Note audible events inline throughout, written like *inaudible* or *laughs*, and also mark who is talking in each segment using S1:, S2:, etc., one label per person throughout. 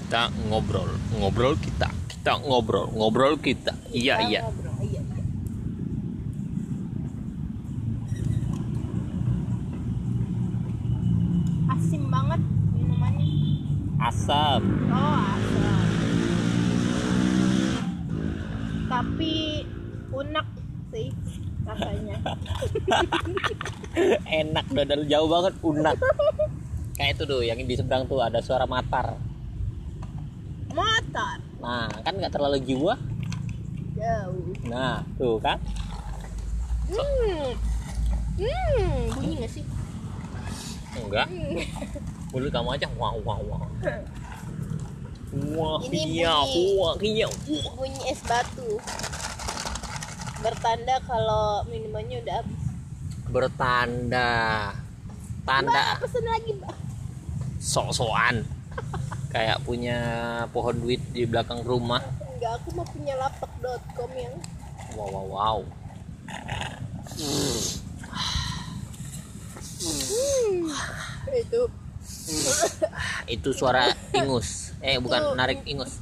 S1: kita ngobrol ngobrol kita kita ngobrol ngobrol kita iya
S2: Kita
S1: iya
S2: ngobrol. iya iya. asin banget minumannya
S1: asap
S2: oh asam tapi unek sih
S1: *laughs*
S2: rasanya
S1: enak udah dari jauh banget unak kayak itu tuh yang di seberang tuh ada suara matar
S2: motor
S1: nah kan nggak terlalu jiwa
S2: jauh
S1: nah tuh kan
S2: hmm hmm bunyi gak sih
S1: enggak
S2: Hmm. *laughs*
S1: mulut kamu aja wah wah wah wah
S2: Ini
S1: iya
S2: bunyi.
S1: wah iya
S2: bunyi es batu bertanda kalau minumannya udah habis
S1: bertanda
S2: Mbak,
S1: tanda
S2: pesen lagi mbak
S1: sok-sokan kayak punya pohon duit di belakang rumah
S2: enggak aku mau punya lapak.com yang
S1: wow wow wow
S2: itu
S1: itu suara ingus eh bukan
S2: Itu-
S1: narik ingus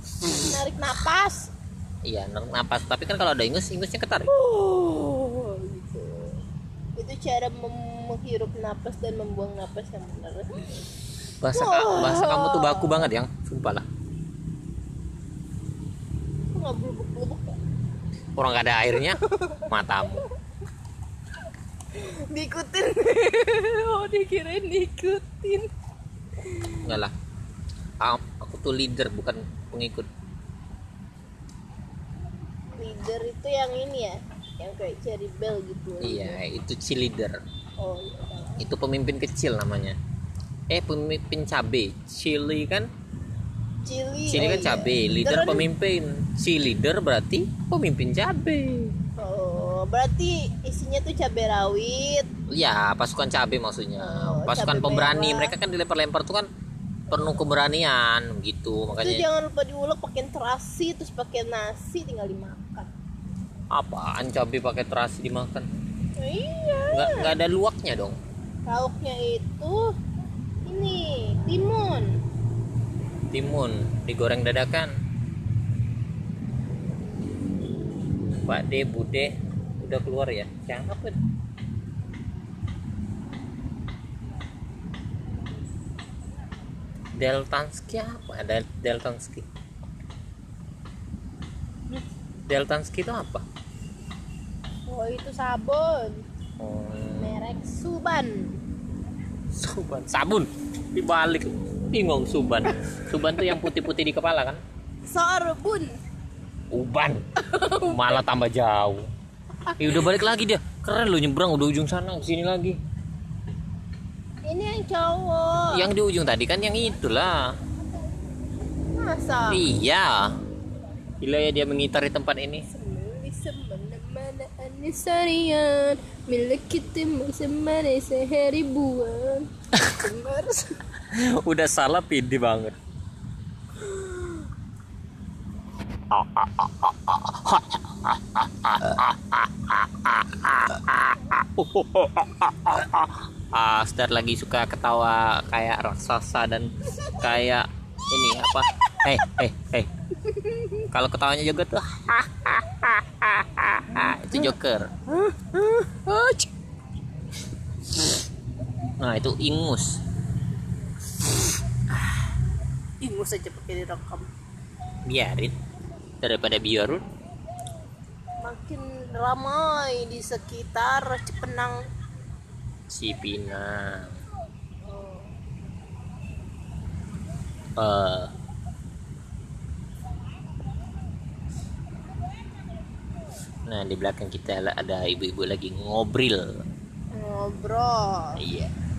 S2: narik napas
S1: iya narik napas tapi kan kalau ada ingus ingusnya ketarik
S2: uh, gitu itu cara mem- menghirup napas dan membuang napas yang benar
S1: bahasa ka- bahasa kamu tuh baku banget yang sumpah lah
S2: aku nggak berlubuk-lubuk ya
S1: orang gak ada
S2: *laughs*
S1: airnya matamu
S2: diikutin *laughs* oh dikirain diikutin
S1: enggak lah Am- aku tuh leader bukan pengikut
S2: leader itu yang ini ya yang kayak cherry bell gitu
S1: iya itu si leader
S2: oh iya salah.
S1: itu pemimpin kecil namanya eh pemimpin cabe chili kan
S2: cili
S1: Cili
S2: oh
S1: kan
S2: iya.
S1: cabe, leader
S2: Leader-
S1: pemimpin. Si leader berarti pemimpin cabe.
S2: Oh, berarti isinya tuh cabai rawit.
S1: Ya, pasukan cabe maksudnya.
S2: Oh,
S1: pasukan
S2: cabe
S1: pemberani.
S2: merah.
S1: Mereka kan dilempar-lempar tuh kan penuh keberanian gitu.
S2: Itu
S1: Makanya
S2: jangan lupa diulek pakai terasi terus pakai nasi tinggal dimakan.
S1: apaan cabe pakai terasi dimakan?
S2: Iya.
S1: Nggak, nggak ada luaknya dong.
S2: Lauknya itu ini timun.
S1: Timun digoreng dadakan. Pak De, Bude udah keluar ya. Cakep. Deltanski apa? Ada Deltanski. Deltanski itu apa?
S2: Oh, itu sabun
S1: Oh,
S2: merek Suban.
S1: Suban. Sabun. Dibalik. Bingung Suban. Suban tuh yang putih-putih di kepala kan?
S2: Sorbun.
S1: Uban malah tambah jauh ya udah balik lagi dia keren lo nyebrang udah ujung sana ke sini lagi
S2: Ini yang cowok.
S1: yang di ujung tadi kan yang itulah
S2: Masa?
S1: iya gila ya dia mengitari tempat ini
S2: Semuli semena-mena anisarian Milik kita semana sehari buan Kemar-
S1: *laughs* udah salah pede banget ah Star lagi suka ketawa kayak raksasa dan kayak ini apa eh eh eh kalau ketawanya juga tuh *laughs* itu joker nah itu ingus
S2: Ingus aja pakai direkam.
S1: biarin daripada biarun
S2: Makin ramai di sekitar Cepenang.
S1: si Pina
S2: Oh.
S1: eh nah di belakang kita ada ibu-ibu lagi ngobrol
S2: Ngobrol.
S1: iya